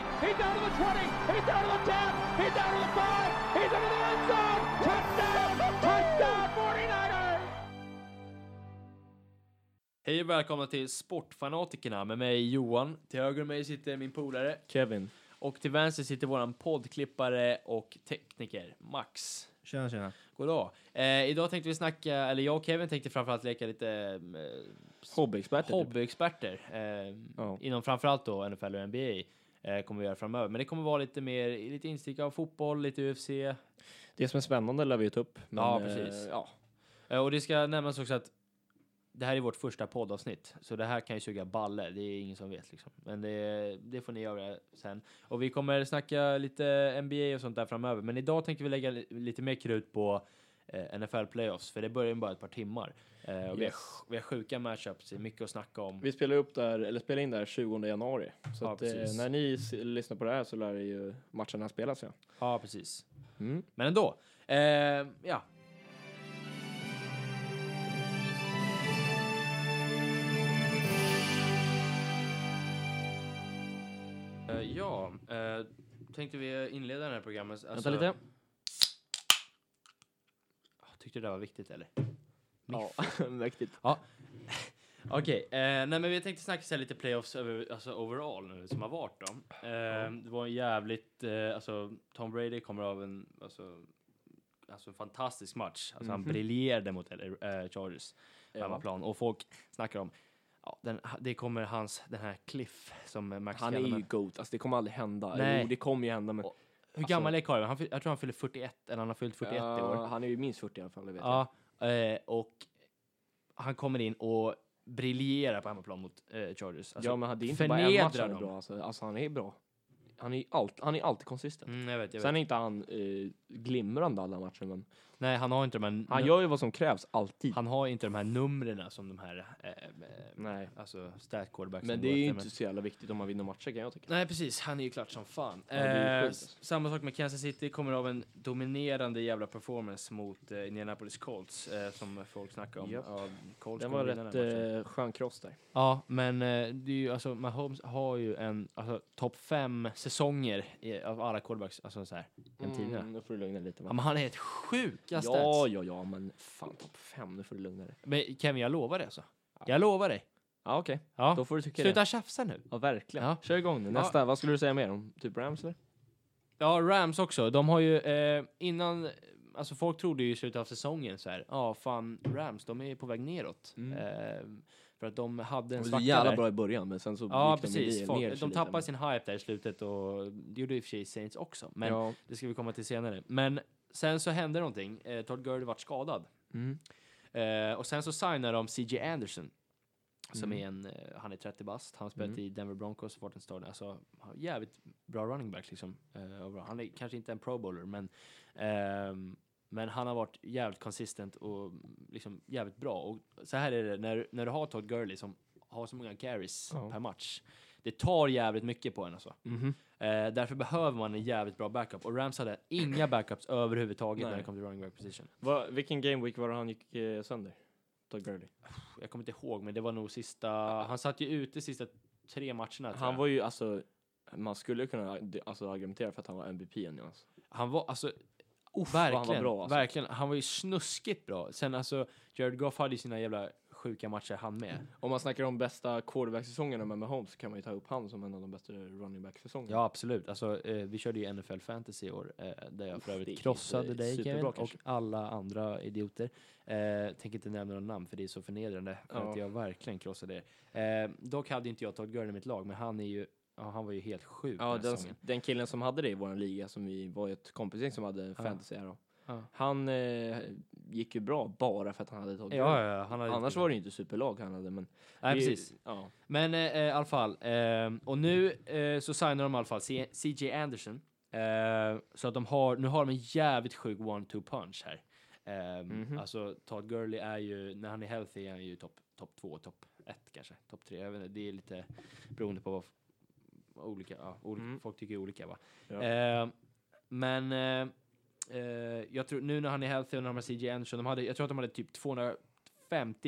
the 20. He's down to the 10. He's down to the 5. He's into the end zone. Touchdown. Touchdown 49ers. Hej och välkomna till Sportfanatikerna med mig Johan. Till höger om mig sitter min polare Kevin. och till vänster sitter våran poddklippare och tekniker Max. Tjena, tjena. Goddag. Eh, idag tänkte vi snacka, eller jag och Kevin tänkte framförallt leka lite eh, Hobbyexperter. typ. hobbyexperter. Eh, Ja. Inom framförallt då NFL och NBA eh, kommer vi göra framöver. Men det kommer vara lite mer, lite instick av fotboll, lite UFC. Eh, Det som är spännande lär vi ju ta upp. men, Ja, eh, precis. ja. Eh, och det ska nämnas också att det här är vårt första poddavsnitt, så det här kan ju suga balle. Det är ingen som vet liksom. Men det, det får ni göra sen. Och vi kommer snacka lite NBA och sånt där framöver. Men idag tänkte vi lägga li- lite mer krut på eh, NFL playoffs, för det börjar ju bara ett par timmar. Eh, och vi, har, Yes. vi har sjuka matchups, det är mycket att snacka om. Vi spelar upp där, eller spelar in där 20 januari. Så Ja, att, eh, precis. när ni s- lyssnar på det här så lär ju matcherna spelas. Ja. Ja, precis. Mm. Men ändå. Eh, ja. Eh, ja, eh, tänkte vi inleda det här programmet. Alltså, lite. Ja, Ah, Tyckte du det där var viktigt eller? Ja, mäktigt. Okej, eh, nej men vi tänkte snacka så här lite playoffs över, alltså overall nu som har varit då. Eh, Det var en jävligt, eh, alltså Tom Brady kommer av en, alltså, alltså en fantastisk match. Alltså han Mhm. briljerade mot LA, eh, Chargers på Ja. hemmaplan och folk snackar om, ja, den, det kommer hans, den här Cliff som Max Han är kallar ju honom. GOAT. Alltså det kommer aldrig hända. Nej. Jo, det kommer ju hända. Men, Och Hur gammal är Karin? Han, fyll- jag tror han fyller 41, eller han har fyllt 41 i år. alltså- Ja, han är ju minst 40 i alla fall. Det vet jag. Ja, eh, och han kommer in och briljerar på hemmaplan mot eh, Chargers. Alltså, ja, men han- det är inte bara en match förnedrar han är dem. bra. Alltså, alltså han är bra. Han är, ju allt, han är alltid konsistent. Mm, jag vet, jag vet. Sen är inte han eh, glimrande alla matcher, men Nej, han har inte de här, han nu- gör ju vad som krävs alltid. han har inte de här numren som de här, eh, eh, Nej. alltså stat quarterbacks Men som det går är ju efter, inte så jävla viktigt om man vinner matcher kan jag tycka. Nej precis, han är ju klart som fan. det är ju eh, sjukt, alltså. samma sak med Kansas City, kommer av en dominerande jävla performance mot eh, Indianapolis Colts eh, som folk snackar om. Japp. Ja, Colts Den kommer var vinna rätt den matchen. eh, skön cross där. Ja, men eh, det är ju, alltså, Mahomes har ju en alltså, topp fem säsonger i, av alla quarterbacks. Alltså, så här, en tidigare. Mm, nu får du lugna dig lite. Ja, Va? men han är ett sjuka Ja, stats. ja, ja, men fan topp fem, nu får du lugna dig. Men Kevin, jag lovar dig alltså. Jag lovar dig. Ja, okej. Ja. Då får du tycka Sluta tjafsa nu. det. Ja, verkligen. Ja. Kör igång nu. Nästa, vad skulle du säga mer om? Typ Rams eller? Ja, Rams också. De har ju eh, innan, alltså folk trodde ju i slutet av säsongen så här, ja fan Rams, de är på väg neråt. Mm. Eh, för att de hade en Det var svacka jävla där. bra i början, men sen så Ja, gick de precis. ner- Folk, ner sig de lite. tappade sin hype där i slutet och det gjorde i och för sig Saints också. Men Ja. det ska vi komma till senare. Men sen så hände någonting. Eh, Todd Gurley vart skadad. Mm. Eh, och sen så signar de CJ Anderson. Som Mm. är en, eh, han är 30 bast, han har spelat Mm. i Denver Broncos, varit en starter. Alltså, han är jävligt bra running back liksom. Eh, och bra. han är kanske inte en pro bowler, men, ehm, men han har varit jävligt konsistent och liksom jävligt bra. Och så här är det, när, när du har Todd Gurley som har så många carries Ja. per match, det tar jävligt mycket på en alltså. Mhm. Eh, därför behöver man en jävligt bra backup. Och Rams hade inga backups överhuvudtaget när Nej. det kom till running back position. Vad- vilken game week var det han gick eh, sönder? Todd Gurley. Jag kommer inte ihåg, men det var nog sista... Han satt ju ute sista tre matcherna. tror jag. Han var ju alltså, man skulle kunna alltså, argumentera för att han var MVP än alltså. han var alltså... vad han verkligen, var bra, alltså. verkligen. Han var ju snuskigt bra. Sen alltså, Jared Goff hade ju sina jävla sjuka matcher han med. Om man snackar om bästa quarterback-säsongerna med Mahomes så kan man ju ta upp han som en av de bästa running back-säsongerna. Ja, absolut. Alltså, eh, vi körde ju NFL Fantasy i år, eh, där jag för Uff, det övrigt gick krossade inte dig Kevin superbra och kanske. alla andra idioter. Eh, tänker inte nämna några namn för det är så förnedrande för Ja. att jag verkligen krossade er. Eh, dock hade inte jag Todd Gurley i mitt lag, men han är ju, ja, han var ju helt sjuk Ja, den här den, säsongen. den killen som hade det i vår liga, som vi var ett kompisgäng som hade fantasy här då. Ja. Han eh, gick ju bra bara för att han hade Todd Ja, Gurley. ja, han hade Annars var det ju inte superlag han hade, men... Nej, det är ju- precis. Ja. Men eh, eh, i alla fall, ehm, och nu eh, så signar de i alla fall C- CJ Anderson. Eh, så att de har, nu har de en jävligt sjuk one-two punch här. Ehm, Mhm. Alltså Todd Gurley är ju, när han är healthy är han ju topp top två, topp ett kanske, topp tre. Jag vet inte, det är lite beroende på vad, f- vad olika, ja, olika Mm. folk tycker olika va. Ja. Ehm, men eh, eh, jag tror nu när han är healthy och när de har CJ Anderson, de hade, jag tror att de hade typ 250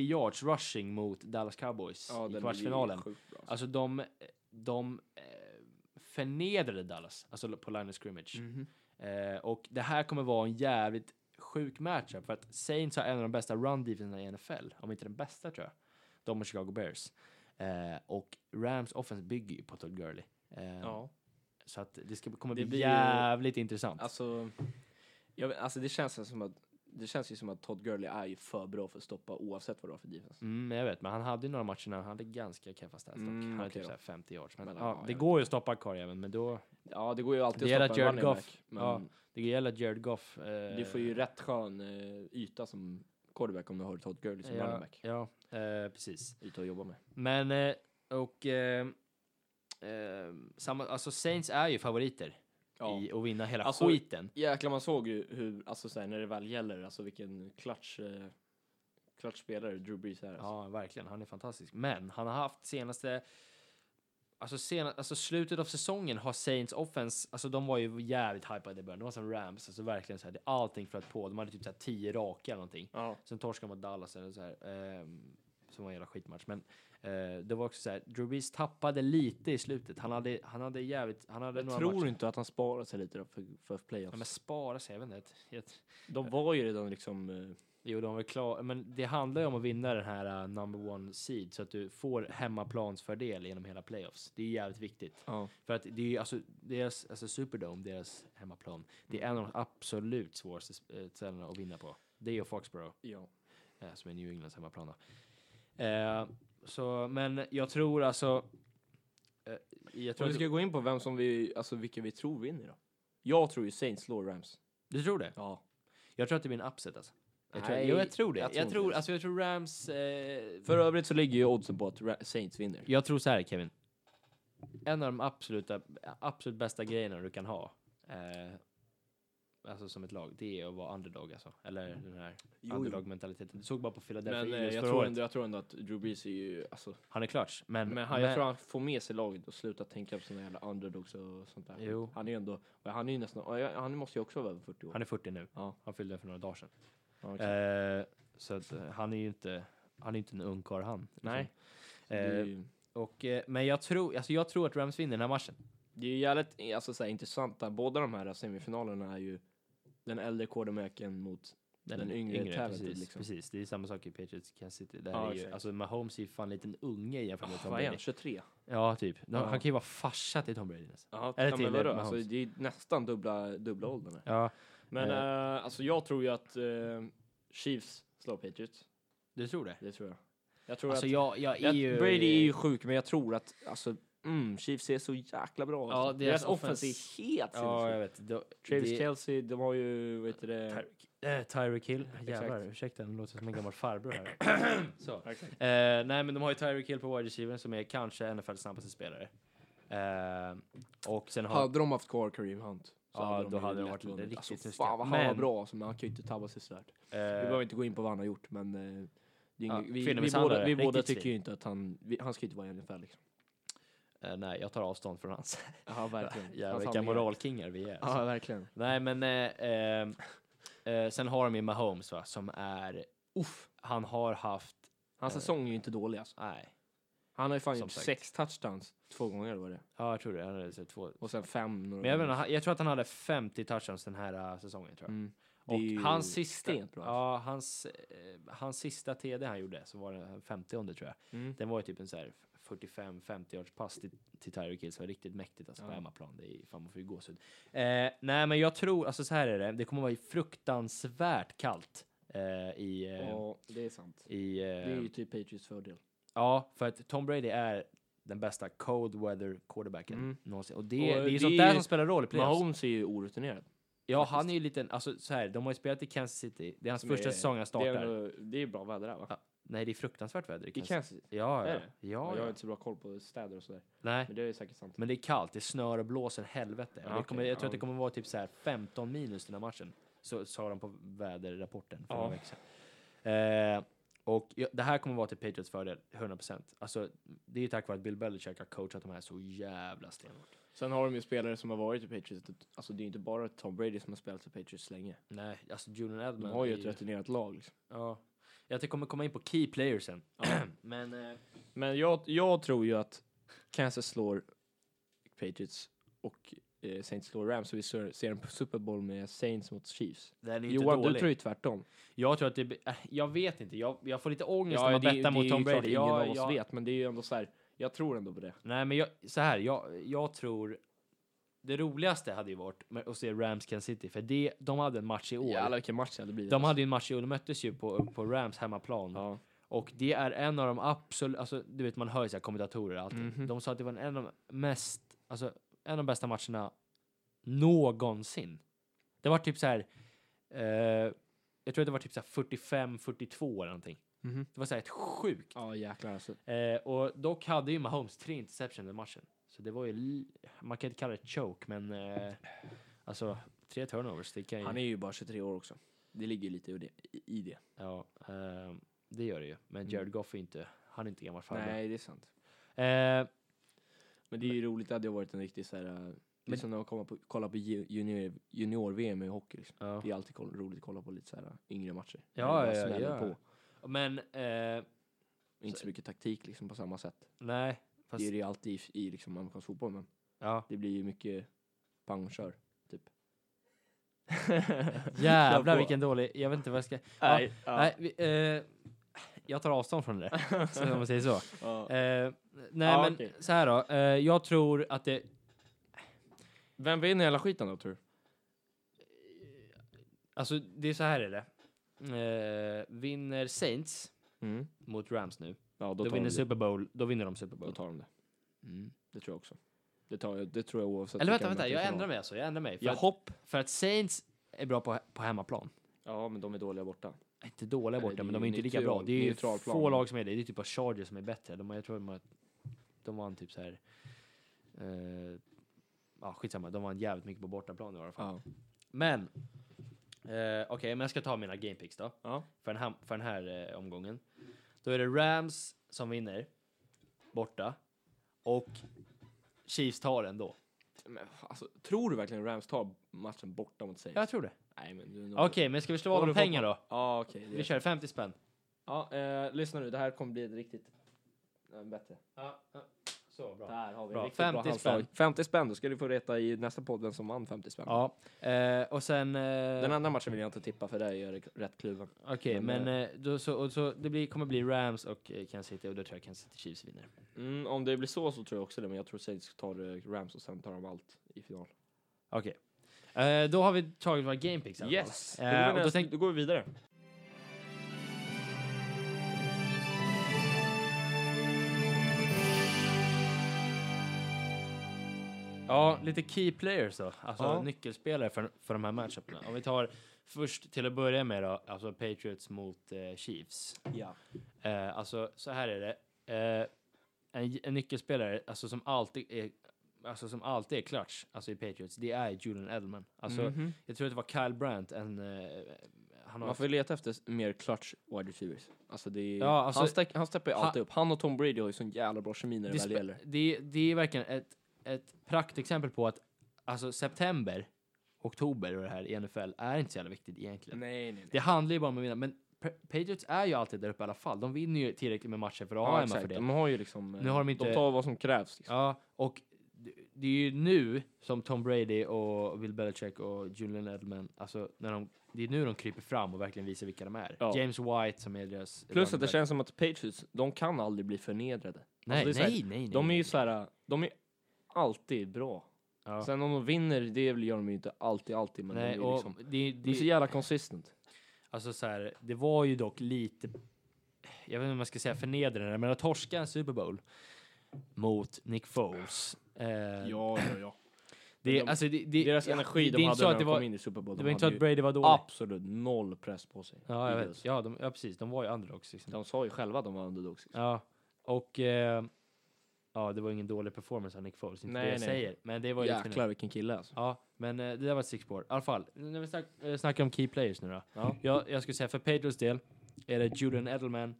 yards rushing mot Dallas Cowboys ja i Alltså, den är ju kvartsfinalen. sjukt bra. Alltså de, de eh, förnedrade Dallas, alltså på line of scrimmage. Mhm. Mm. Eh, och det här kommer vara en jävligt sjuk matchup för att Saints har en av de bästa run defenserna i NFL, om inte den bästa tror jag. De och Chicago Bears. Eh, och Rams offense bygger ju på Todd Gurley. Eh, Ja. Så att det ska, kommer Det bli blir ju- jävligt intressant. Alltså, jag, vet- alltså det känns ju som att det känns ju som att Todd Gurley är ju för bra för att stoppa oavsett vad du har för defense. Mm, jag vet, men han hade ju några matcher när han hade ganska keffa stats dock. Mm, Han hade okej typ då. såhär 50 yards. Men, Men, ja, ja, det jag går ju att stoppa karljäveln, men då... Ja, det går ju alltid Det gäller att att stoppa en Jared running back. Goff- Men ja. Det gäller att Jared Goff... Eh, du får ju rätt skön eh, yta som quarterback om du har Todd Gurley som running ja, back. ja, eh, precis. Yta att jobba med. Men, eh, och... Eh, eh, samma, alltså Saints är ju favoriter Ja. i att vinna hela Alltså- skiten. Jäklar, man såg ju hur, alltså såhär, när det väl gäller, alltså vilken clutch, eh, clutch spelare Drew Brees är. Alltså. Ja, verkligen. Han är fantastisk. Men han har haft senaste... Alltså, sena, alltså slutet av säsongen har Saints offense, alltså de var ju jävligt hypade i början. De var som Rams, alltså verkligen så här, det- allting flöt på. De hade typ så här 10 raka eller någonting. Ja. Sen torskade mot Dallas eller så här, ehm, som var en jävla skitmatch. Men eh, det var också så här, Drew Brees tappade lite i slutet. Han hade, han hade jävligt, han hade Jag några tror matcher. inte att han sparar sig lite då för, för playoffs. Ja, men spara sig, jag vet inte. Jag- jag- De var ju redan liksom, eh, Jo, de var klara, men det handlar ju om att vinna den här eh, number one seed så att du får hemmaplansfördel genom hela playoffs. Det är jävligt viktigt. För att det är ju alltså deras, alltså Superdome, deras hemmaplan, det är en av de absolut svåraste sp- eh, ställena att vinna på. Det är ju Foxborough, ja. eh, som är New Englands hemmaplan då. Eh, så, men jag tror alltså... Eh, jag Om tror vi ska att, gå in på vem som vi, alltså vilka vi tror vinner då. Jag tror ju Saints slår Rams. du tror det? Ja. Jag tror att det blir en upset alltså. Jag tror, Nej, jo, jag tror det. jag Jag tror tror, inte det. alltså, jag tror Rams... Eh, För övrigt så ligger ju oddsen på att Ra- Saints vinner. Jag tror så här Kevin. En av de absoluta, absolut bästa grejerna du kan ha. Eh, alltså som ett lag. Det är att vara underdog alltså. Eller den här underdog-mentaliteten. Du såg bara på Philadelphia Mm. Men eh, Eagles jag, förra tror året. ändå, jag tror ändå att Drew Brees är ju, alltså, Han är klart. Men, men han, jag tror han får med sig laget och slutar tänka på sina jävla underdogs och sånt där. Jo. Han är ju ändå, han är ju nästan, ja, han måste ju också vara över 40 år. han är 40 nu. Ja. Han fyllde för några dagar sedan. Ja, exakt. Eh, så att, eh, han är ju inte, han är ju inte en ung karl han. liksom. Nej. Det är Eh, ju- och, eh, men jag tror, alltså jag tror att Rams vinner den här matchen. Det är ju jävligt alltså, så här, intressanta, båda de här semifinalerna är ju den äldre quarterbacken mot den, yngre, talented precis, liksom. precis. Det är samma sak i Patriots Kansas City. Där Ja, är ju, exakt. alltså Mahomes är ju fan en liten unge jämfört med Oh, Tom vad är Brady. han, 23? Ja, typ. De, Ja. Han kan ju vara farsa till Tom Brady nästan. Ja, Eller ja, till, men vadå? eh, Alltså, Mahomes. det är nästan dubbla, dubbla åldern. här. Ja, Men Eh. eh, alltså, jag tror ju att eh, Chiefs slår Patriots. du tror det? Det tror jag. Jag tror Alltså att, jag, jag är att ju... Brady är ju sjuk, men jag tror att alltså, mm, Chiefs är så jäkla bra. Ja, alltså. deras deras offensiv offens- är helt Ja, jag sinnessjuk. vet. Då, Travis det- Kelce, de har ju, vad heter det? Eh, Tyreek Hill. Jävlar, Exakt. ursäkta, nu låter jag som en gammal farbror här. Så. Eh, nej, men de har ju Tyreek Hill på wide receiver som är kanske NFLs snabbaste spelare. Eh, och sen har... eh, Hade de haft kvar Kareem Hunt Ja, då ju hade de lätt varit vunnit. riktigt alltså, snuskiga. Fan vad han var Men- bra, alltså, men han kan ju inte tabba sig sådär. Vi behöver Eh, inte gå in på vad han har gjort, men eh, det är Ja, ingen- vi, vi, kvinnomisshandlare, båda, vi riktigt båda svin. tycker ju inte att han, vi, han ska ju inte vara i NFL liksom. eh, nej, jag tar avstånd från hans. Ja, verkligen. Jävlar, Hans vilka handlingar. moralkingar vi är. alltså. Ja, verkligen. Nej, men eh, eh, eh, sen har de ju Mahomes va, som är... Uff, han har haft... Hans Eh. säsong är ju inte dålig alltså. Nej. Han har ju fan Som gjort sagt. sex touchdowns två gånger var det. Ja, jag tror det. Han hade så två... Och sen fem några Men jag, vet gånger. inte, han- jag tror att han hade 50 touchdowns den här eh, säsongen. Tror jag. Mm. Det är ju Och hans sista, extremt bra. ja, hans, eh, hans sista TD han gjorde, så var det 50 tror jag. Mm. Den var ju typ en så här 45-50 yards pass till, till Tyreek Hill, så det var riktigt mäktigt alltså, på Ja. hemmaplan. Det är, fan, man får ju gåshud. Eh, nej, men jag tror, alltså så här är det, det kommer vara fruktansvärt kallt eh, i... Eh, Ja, det är sant. i eh, Det är ju typ Patriots fördel. Ja, för att Tom Brady är den bästa cold weather quarterbacken Mm. någonsin. Och det, Och det är ju det sånt är där ju- som spelar roll i playoffs. Mahomes är ju orutinerad. Ja, Faktiskt. han är ju liten, alltså så här, de har ju spelat i Kansas City. Det är hans Som första är- säsong han Det är, startar. ändå- det är bra väder där va? Ja, Nej, det är fruktansvärt väder i I Kansas. Kansas. Ja, Är ja. ja, det? jag har ja. inte så bra koll på städer och sådär. Nej, Men det är säkert sant. men det är kallt. Det snör och blåser helvete. Ja, Och det okej. kommer, jag tror att det Ja. kommer vara typ så här 15 minus den här matchen. Så sa de på väderrapporten för Ja. några veckor sedan. Eh, och ja, det här kommer vara till Patriots fördel, 100%. Alltså, det är ju tack vare att Bill Belichick har coachat de här så jävla stenhårt. Sen har de ju spelare som har varit i Patriots. Alltså det är ju inte bara Tom Brady som har spelat i Patriots länge. Nej, alltså Julian Edelman. De har ju är ett rutinerat lag. Liksom. Ja. Jag tycker kommer komma in på key players sen. Ja. Men... Eh, Men jag, jag tror ju att Kansas slår Patriots och eh, Saints slår Rams, så vi ser, ser en Super Bowl med Saints mot Chiefs. Den är inte Johan, dålig. du tror ju tvärtom. Jag tror att det blir- äh, Jag vet inte. Jag, jag får lite ångest när man bettar mot Tom Brady. ingen Jag, av oss jag, vet, men det är ju ändå så här, jag tror ändå på det. Nej, men jag, så här. Jag, jag tror... Det roligaste hade ju varit med- att se Rams Kansas City, för det, de hade en match i år. Jävlar vilken match det hade blivit. De hade ju en match i år. De möttes ju på, på Rams hemmaplan. Ja. Och det är en av de absolut, alltså du vet man hör ju så här kommentatorer och allting. De sa att det var en av de mest, alltså en av de bästa matcherna någonsin. Det var typ så här, eh, jag tror att det var typ så här 45-42 eller någonting. Mhm. Det var så här ett sjukt. Ja, jäklar alltså. Eh, och dock hade ju Mahomes tre interception i den matchen. Så det var ju, li- man kan inte kalla det choke men eh, alltså tre turnovers, det kan ju... Han är ju bara 23 år också. Det ligger lite i det. I det. Ja, eh, det gör det ju. Men Jared Goff är inte, han är inte gammal farbror. Mm. Nej, det är sant. Eh, Men det är ju roligt, det hade ju varit en riktig så här... äh, Det är som när man kommer på, kollar på ju- junior- junior-VM i hockey. Liksom. ja. Det är alltid kol- roligt att kolla på lite så här äh, yngre matcher. Ja, När det bara ja, ja, smäller ja. på. Men, eh, Inte så mycket taktik liksom på samma sätt. nej. Fast, Det är det ju alltid i, i liksom amerikansk fotboll, men ja. det blir ju mycket pang och kör, typ. Jävlar vilken dålig, jag vet inte vad jag ska... Nej, ja. nej vi, eh, jag tar avstånd från det där, så om man säger så. Ja. Eh, nej Ja, men okej. så här då, eh, jag tror att det... Vem vinner hela skiten då, tror du? Alltså det är så här är det. Eh, vinner Saints Mm. mot Rams nu, Ja, då, då, tar de vinner det. Super Bowl, då vinner de Super Då Bowl. tar de det. Mm. Det tror jag också. Det, tar, jag- det tror jag oavsett. Eller vänta, vilka de vänta, möter i jag final. ändrar mig alltså, jag ändrar mig. För, Ja, att, hopp. för att Saints är bra på, på hemmaplan. Ja, men de är dåliga borta. är inte dåliga Nej, borta, det är men de ju är inte lika neutral- bra. Det är ju neutral plan. få lag som är det. Det är typ av Chargers som är bättre. De, har- jag tror de, har, de vann typ så här... Eh, ja, skitsamma. De vann jävligt mycket på bortaplan i alla fall. Ja. Men... Eh, Okej, men jag ska ta mina game picks då. Ja. För den här, för den här eh, omgången. Då är det Rams som vinner. Borta. Och Chiefs tar ändå. Men, alltså, tror du verkligen Rams tar matchen borta mot Saints? Jag tror det. Nej, men du är nog- Okej, men ska vi slå Då har vad om du fått pengar då? Ja, okej. det- Vi kör 50 spänn. Ja, eh, lyssna nu. Det här kommer bli ett riktigt... eh, Bättre. Ja, ja. Så, bra. Där har vi Bra, en riktigt 50 bra handslag. spänn. 50 spänn. Då ska du få reta i nästa podd vem som vann 50 spänn. Ja, eh, och sen... Eh, Den andra matchen vill jag inte tippa för där är jag rätt kluven. Okej, men, Men, eh, då, så, och, så, det blir, kommer bli Rams och eh, Kansas City och då tror jag Kansas City Chiefs vinner. Mm, om det blir så så tror jag också det, men jag tror Saints tar eh, Rams och sen tar de allt i final. Okej. Eh, då har vi tagit våra game picks i alla fall. Yes! Eh, och då, då tänk, då går vi vidare. ja, lite key players då. Alltså Ja. nyckelspelare för, för de här matchuperna. Om vi tar först till att börja med då, alltså Patriots mot eh, Chiefs. Ja. Eh, alltså, så här är det. Eh, en, en nyckelspelare alltså, som alltid är Alltså som alltid är clutch, alltså i Patriots, det är Julian Edelman. Alltså, Mm. jag tror att det var Kyle Brandt, en... Eh, han har Man får ju leta efter s- mer clutch wide receivers. Alltså det är, Ja, alltså- han, stack, han steppar ju Han- alltid upp. Han och Tom Brady har ju sån jävla bra kemi när det Det, väl gäller. sp- det, det är verkligen ett, ett praktexempel på att alltså, september, oktober och det här i NFL är inte så jävla viktigt egentligen. Nej, nej, nej. Det handlar ju bara om att vinna, men Pa- Patriots är ju alltid där uppe i alla fall. De vinner ju tillräckligt med matcher för att ha Ja, hemma exakt. för det. De har ju liksom... eh, Nu har de inte- de tar vad som krävs. Liksom. Ja, och det- det är ju nu som Tom Brady och Bill Belichick och Julian Edelman, alltså när de, det är nu de kryper fram och verkligen visar vilka de är. Ja. James White som är deras... Plus att det running känns som att Patriots, de kan aldrig bli förnedrade. back. alltså det är Nej, så här, nej, nej, nej. De är nej. ju så här, de är alltid bra. Ja. Sen om de vinner, det gör de ju inte alltid, alltid. Men Nej, de är och ju liksom... det, De är så det, jävla consistent. Alltså så här, det var ju dock lite, jag vet inte om jag ska säga förnedrande, men att torska en Super Bowl mot Nick Foles. Eh, Ja, ja, ja. det, de- alltså, det, det, Deras energi det, de är inte hade så när att det de kom var, in i Super Bowl, det de var inte så hade att Brady var ju dålig. absolut noll press på sig. ja, jag Eagles. vet. Ja, de, ja, precis. De var ju underdogs. Liksom. De sa ju själva att de var underdogs. liksom. Ja, och eh, ja, det var ingen dålig performance av Nick Foles, inte Nej, det jag nej. säger. Men det var ju lite Jäklar vilken kille alltså. Ja, men eh, det där var ett stickspår. I alla fall, när vi snack, eh, snackar om key players nu då. Ja. Jag, jag skulle säga för Pedros del är det Julian Edelman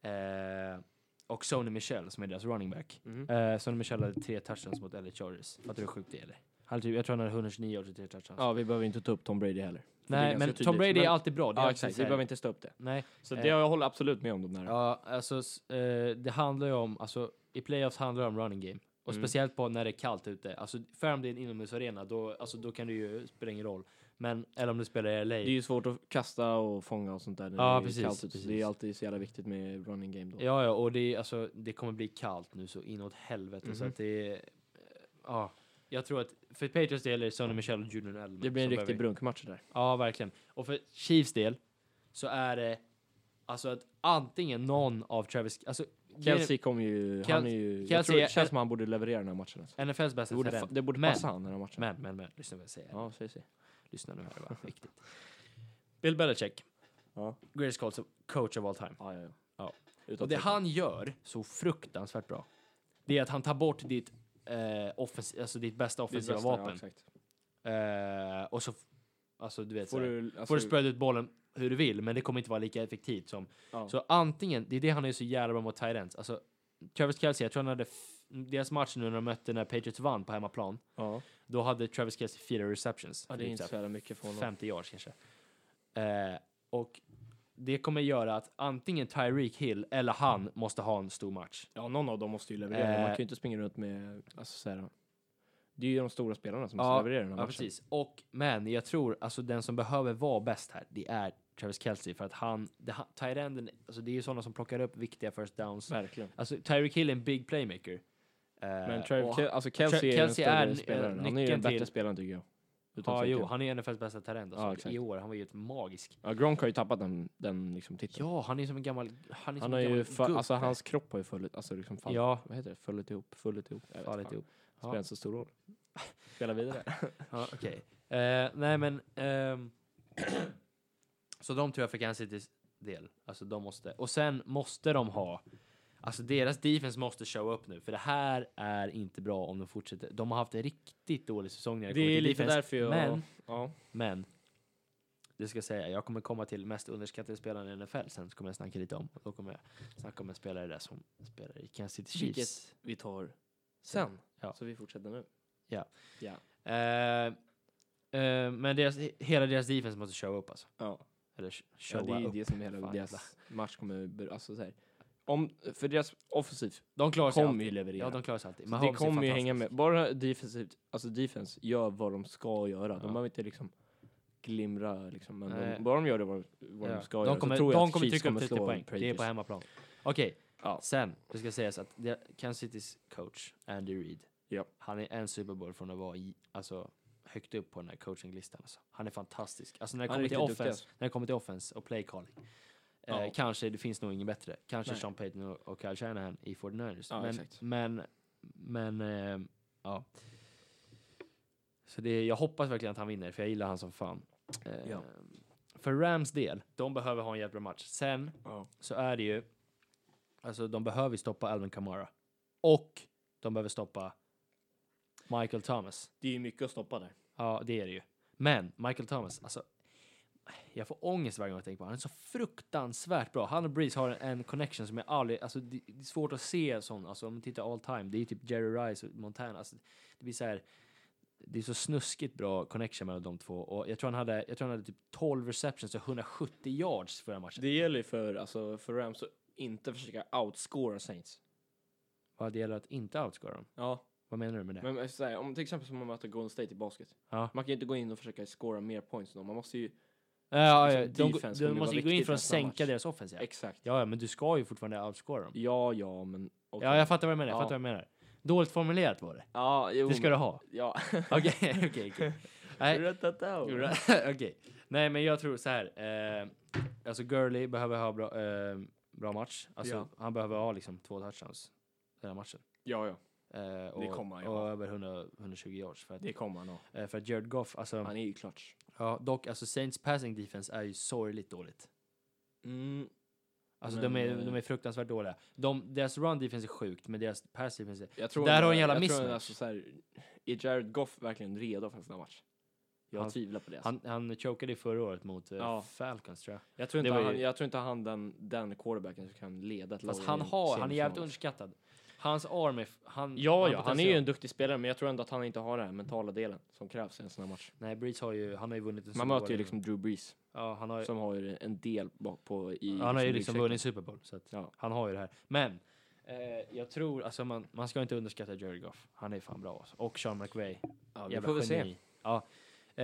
eh, och Sony Michel som är deras running back. Mhm. Eh, Sony Michel hade tre touchdowns mot LA Chargers. Fattar du hur sjukt det är? eller? Han hade typ, jag tror han hade 129 och tre touchdowns. Ja, vi behöver inte ta upp Tom Brady heller. För det är Nej, ganska men Tom tydligt. Brady är Men- alltid bra. Det är Ja, alltid exakt. så Vi här- behöver inte stå upp det. Nej, Så Eh. det jag håller absolut med om de där. ja, alltså s- eh, det handlar ju om, alltså i playoffs handlar det om running game. Och Mm. speciellt på när det är kallt ute. Alltså, för om det är en inomhusarena, då, alltså, då kan det ju spela ingen roll. Men, eller om du spelar i LA. Det är ju svårt att kasta och fånga och sånt där. när Ja, det är precis, kallt ute, så precis. Det är alltid så jävla viktigt med running game då. Ja, ja, och det, är, alltså, det kommer bli kallt nu så inåt helvete. Så Mhm. att det är... eh, Ja, jag tror att för Patriots del är det Sonny Michel och Julian Edelman. Det blir en som riktig behöver- brunkmatch där. Ja, verkligen. Och för Chiefs del så är det alltså att antingen någon av Travis... Alltså, Kelsey kommer ju, han är ju, jag Kelsey tror är- det känns som han borde leverera den här matchen. Alltså. NFLs bästa Det borde, fa- talent. det borde Men- passa han den här matchen. Men, men, men, lyssna vad jag säger. Ja, säg, säg. Lyssna nu här, det var viktigt. Bill Belichick, Ja. greatest coach of, coach of all time. Ja, ja, ja. Ja. Utan Och det tvekan. han gör så fruktansvärt bra, det är att han tar bort ditt, eh, offens- alltså ditt bästa Det är offensiva bästa, ja, vapen. exakt. Eh, och så, f- alltså du vet, Får får du, du, får alltså, du spreada ut bollen hur du vill, men det kommer inte vara lika effektivt som... ja. Så antingen, det är det han är så jävla bra mot tight ends. Alltså, Travis Kelce, jag tror han hade, f- deras match nu när de mötte när Patriots vann på hemmaplan, ja. då hade Travis Kelce fyra receptions. ja, det är Typ inte så här så jävla mycket för honom. 50 yards kanske. Eh, och det kommer göra att antingen Tyreek Hill eller han Mm. måste ha en stor match. Ja, någon av dem måste ju leverera. Eh. Man kan ju inte springa runt med, alltså så här, det är ju de stora spelarna som Ja, måste leverera den här Ja, matchen. precis. Och, men jag tror alltså den som behöver vara bäst här, det är Travis Kelce för att han, det, han Tyrenden, alltså det är ju sådana som plockar upp viktiga first downs. Verkligen. Alltså Tyreek Hill är en big playmaker. Eh, Men och Travis, Ke- alltså Kelsey, Tra- är den Kelsey är större n- eh, spelaren. Han är ju nyckeln den bättre till- spelaren tycker jag. Utan Ja, tvekan. jo, han är NFLs bästa talent Ja, alltså, exakt. i år. Han var ju helt magisk. Ja, Gronk har ju tappat den, den liksom titeln. Ja, han är som en gammal... Han är som en han har ju, gammal fa- gubb. alltså hans kropp har ju fallit, alltså liksom fallit, Ja. vad heter det, fallit ihop, fallit ihop. Jag vet Fallit fan. ihop. Ja. Spelar inte så stor roll. Spela vidare. Ja, okej. Eh, nej, men... ehm, så de tror jag för Kansas Citys del. Alltså, de måste... Och sen måste de ha... Alltså, deras defense måste show up nu, för det här är inte bra om de fortsätter. De har haft en riktigt dålig säsong när det, kommer till defense. Men, ja. men... Det ska jag säga, jag kommer komma till mest underskattade spelaren i NFL sen, så kommer jag snacka lite om. Och då kommer jag snacka om en spelare där som spelar i Kansas City Chiefs. Vilket vi tar sen. Ja. Så vi fortsätter nu. Ja. Ja. Eh, eh, men deras, hela deras defense måste show upp alltså. ja. Eller sh- ja showa det är ju upp. det som hela Fan, deras match kommer... ber- Alltså, så här. Om, för deras offensiv De klarar sig kommer alltid. ju leverera. Ja, de klarar sig alltid. Så det Mahomes är kommer ju hänga med. fantastisk. Bara defensivt, alltså defense gör vad de ska göra. Ja. De behöver inte liksom glimra liksom. Men Nej. de, bara de gör det vad, vad Ja. de ska de göra kommer, så tror jag de att kommer Chiefs trycka upp kommer 30 slå poäng. Det är på Patriots. hemmaplan. Okej, Ja. sen. Det ska sägas att det- Kansas Citys coach, Andy Reid. Ja. Han är en Super Bowl från att vara i, alltså, högt upp på den här coachinglistan. Alltså. Han är fantastisk. Alltså, när, det Han kommer är till riktigt duktig, offense, när det kommer till offense och play calling. Ja. Eh, kanske, det finns nog ingen bättre. Kanske Nej. Sean Payton och, och Kyle Shanahan i 49ers. Ja, men, exakt. men, men, eh, ja. Så det, jag hoppas verkligen att han vinner, för jag gillar han som fan. Eh, Ja. För Rams del, de behöver ha en jävla match. Sen Ja. så är det ju, alltså de behöver ju stoppa Alvin Kamara. Och de behöver stoppa Michael Thomas. Det är ju mycket att stoppa där. Ja, det är det ju. Men Michael Thomas, alltså. Jag får ångest varje gång jag tänker på honom. Han är så fruktansvärt bra. Han och Breeze har en, en connection som jag aldrig... Alltså, det, det är svårt att se sån. Alltså, om man tittar all time, det är ju typ Jerry Rice och Montana. Alltså, det blir så här... Det är så snuskigt bra connection mellan de två. Och jag tror han hade, jag tror han hade typ 12 receptions och 170 yards förra matchen. Det gäller ju för, alltså, för Rams att inte försöka outscora Saints. Vad det gäller att inte outscora dem. Ja. Vad menar du med det? Men jag säger, om till exempel som man möter Golden State i basket. Ja. Man kan ju inte gå in och försöka scora mer points än dem. Man måste ju... ja, ja, Alltså, de, defense de kommer ju måste ju vara gå in viktigt för att nästa match. sänka deras offensiv. Exakt. Ja, ja, men du ska ju fortfarande outscora dem. Ja, ja, men... okej. Ja, jag fattar vad du menar. Jag Ja. fattar vad du menar. Dåligt formulerat var det. Ja, jo, Det ska men- du ha. Ja. Okej, okej, okej. Nej, Ratatao. okej. Nej, men jag tror så här. Eh, alltså, Gurley behöver ha bra, eh, bra match. Alltså, Ja. han behöver ha liksom två touchdowns den här matchen. Ja, ja. Eh, och, kommer han ju Och ha. över 100, 120 yards. För att, Det kommer han ha. eh, för att Jared Goff, alltså, Han är ju clutch. ja, dock, alltså Saints passing defense är ju sorgligt dåligt. Mm. Alltså Men, de, är, eh, de är fruktansvärt dåliga. De, deras run defense är sjukt, men deras pass defense är... Jag tror Där ändå- har en jävla jag mismatch. tror ändå Alltså, så här, är Jared Goff verkligen redo för en sån här match? Jag Han- tvivlar på det. alltså. Han, han chokade ju förra året mot eh, Ja. Falcons tror jag. jag, tror det inte var han ju- jag tror inte han den, den quarterbacken som kan leda ett Fast lag i han en har, han är jävligt semifinal. underskattad. Hans arm är... f- Han, Ja, ja, har han är ju potential. en duktig spelare, men jag tror ändå att han inte har den här mentala delen som krävs i en sån här match. Nej, Breeze har ju... Han har ju vunnit en Man möter ju liksom Drew Brees, Ja, han har ju, som har ju en del bak på i... han har ju ryggsäcken. liksom vunnit Super Bowl. Så att Ja. han har ju det här. Men, Eh, jag tror, alltså man, man ska inte underskatta Jared Goff. Han är fan bra alltså. Och Sean McVay. Ja, vi Jävla får väl se. geni. Ja.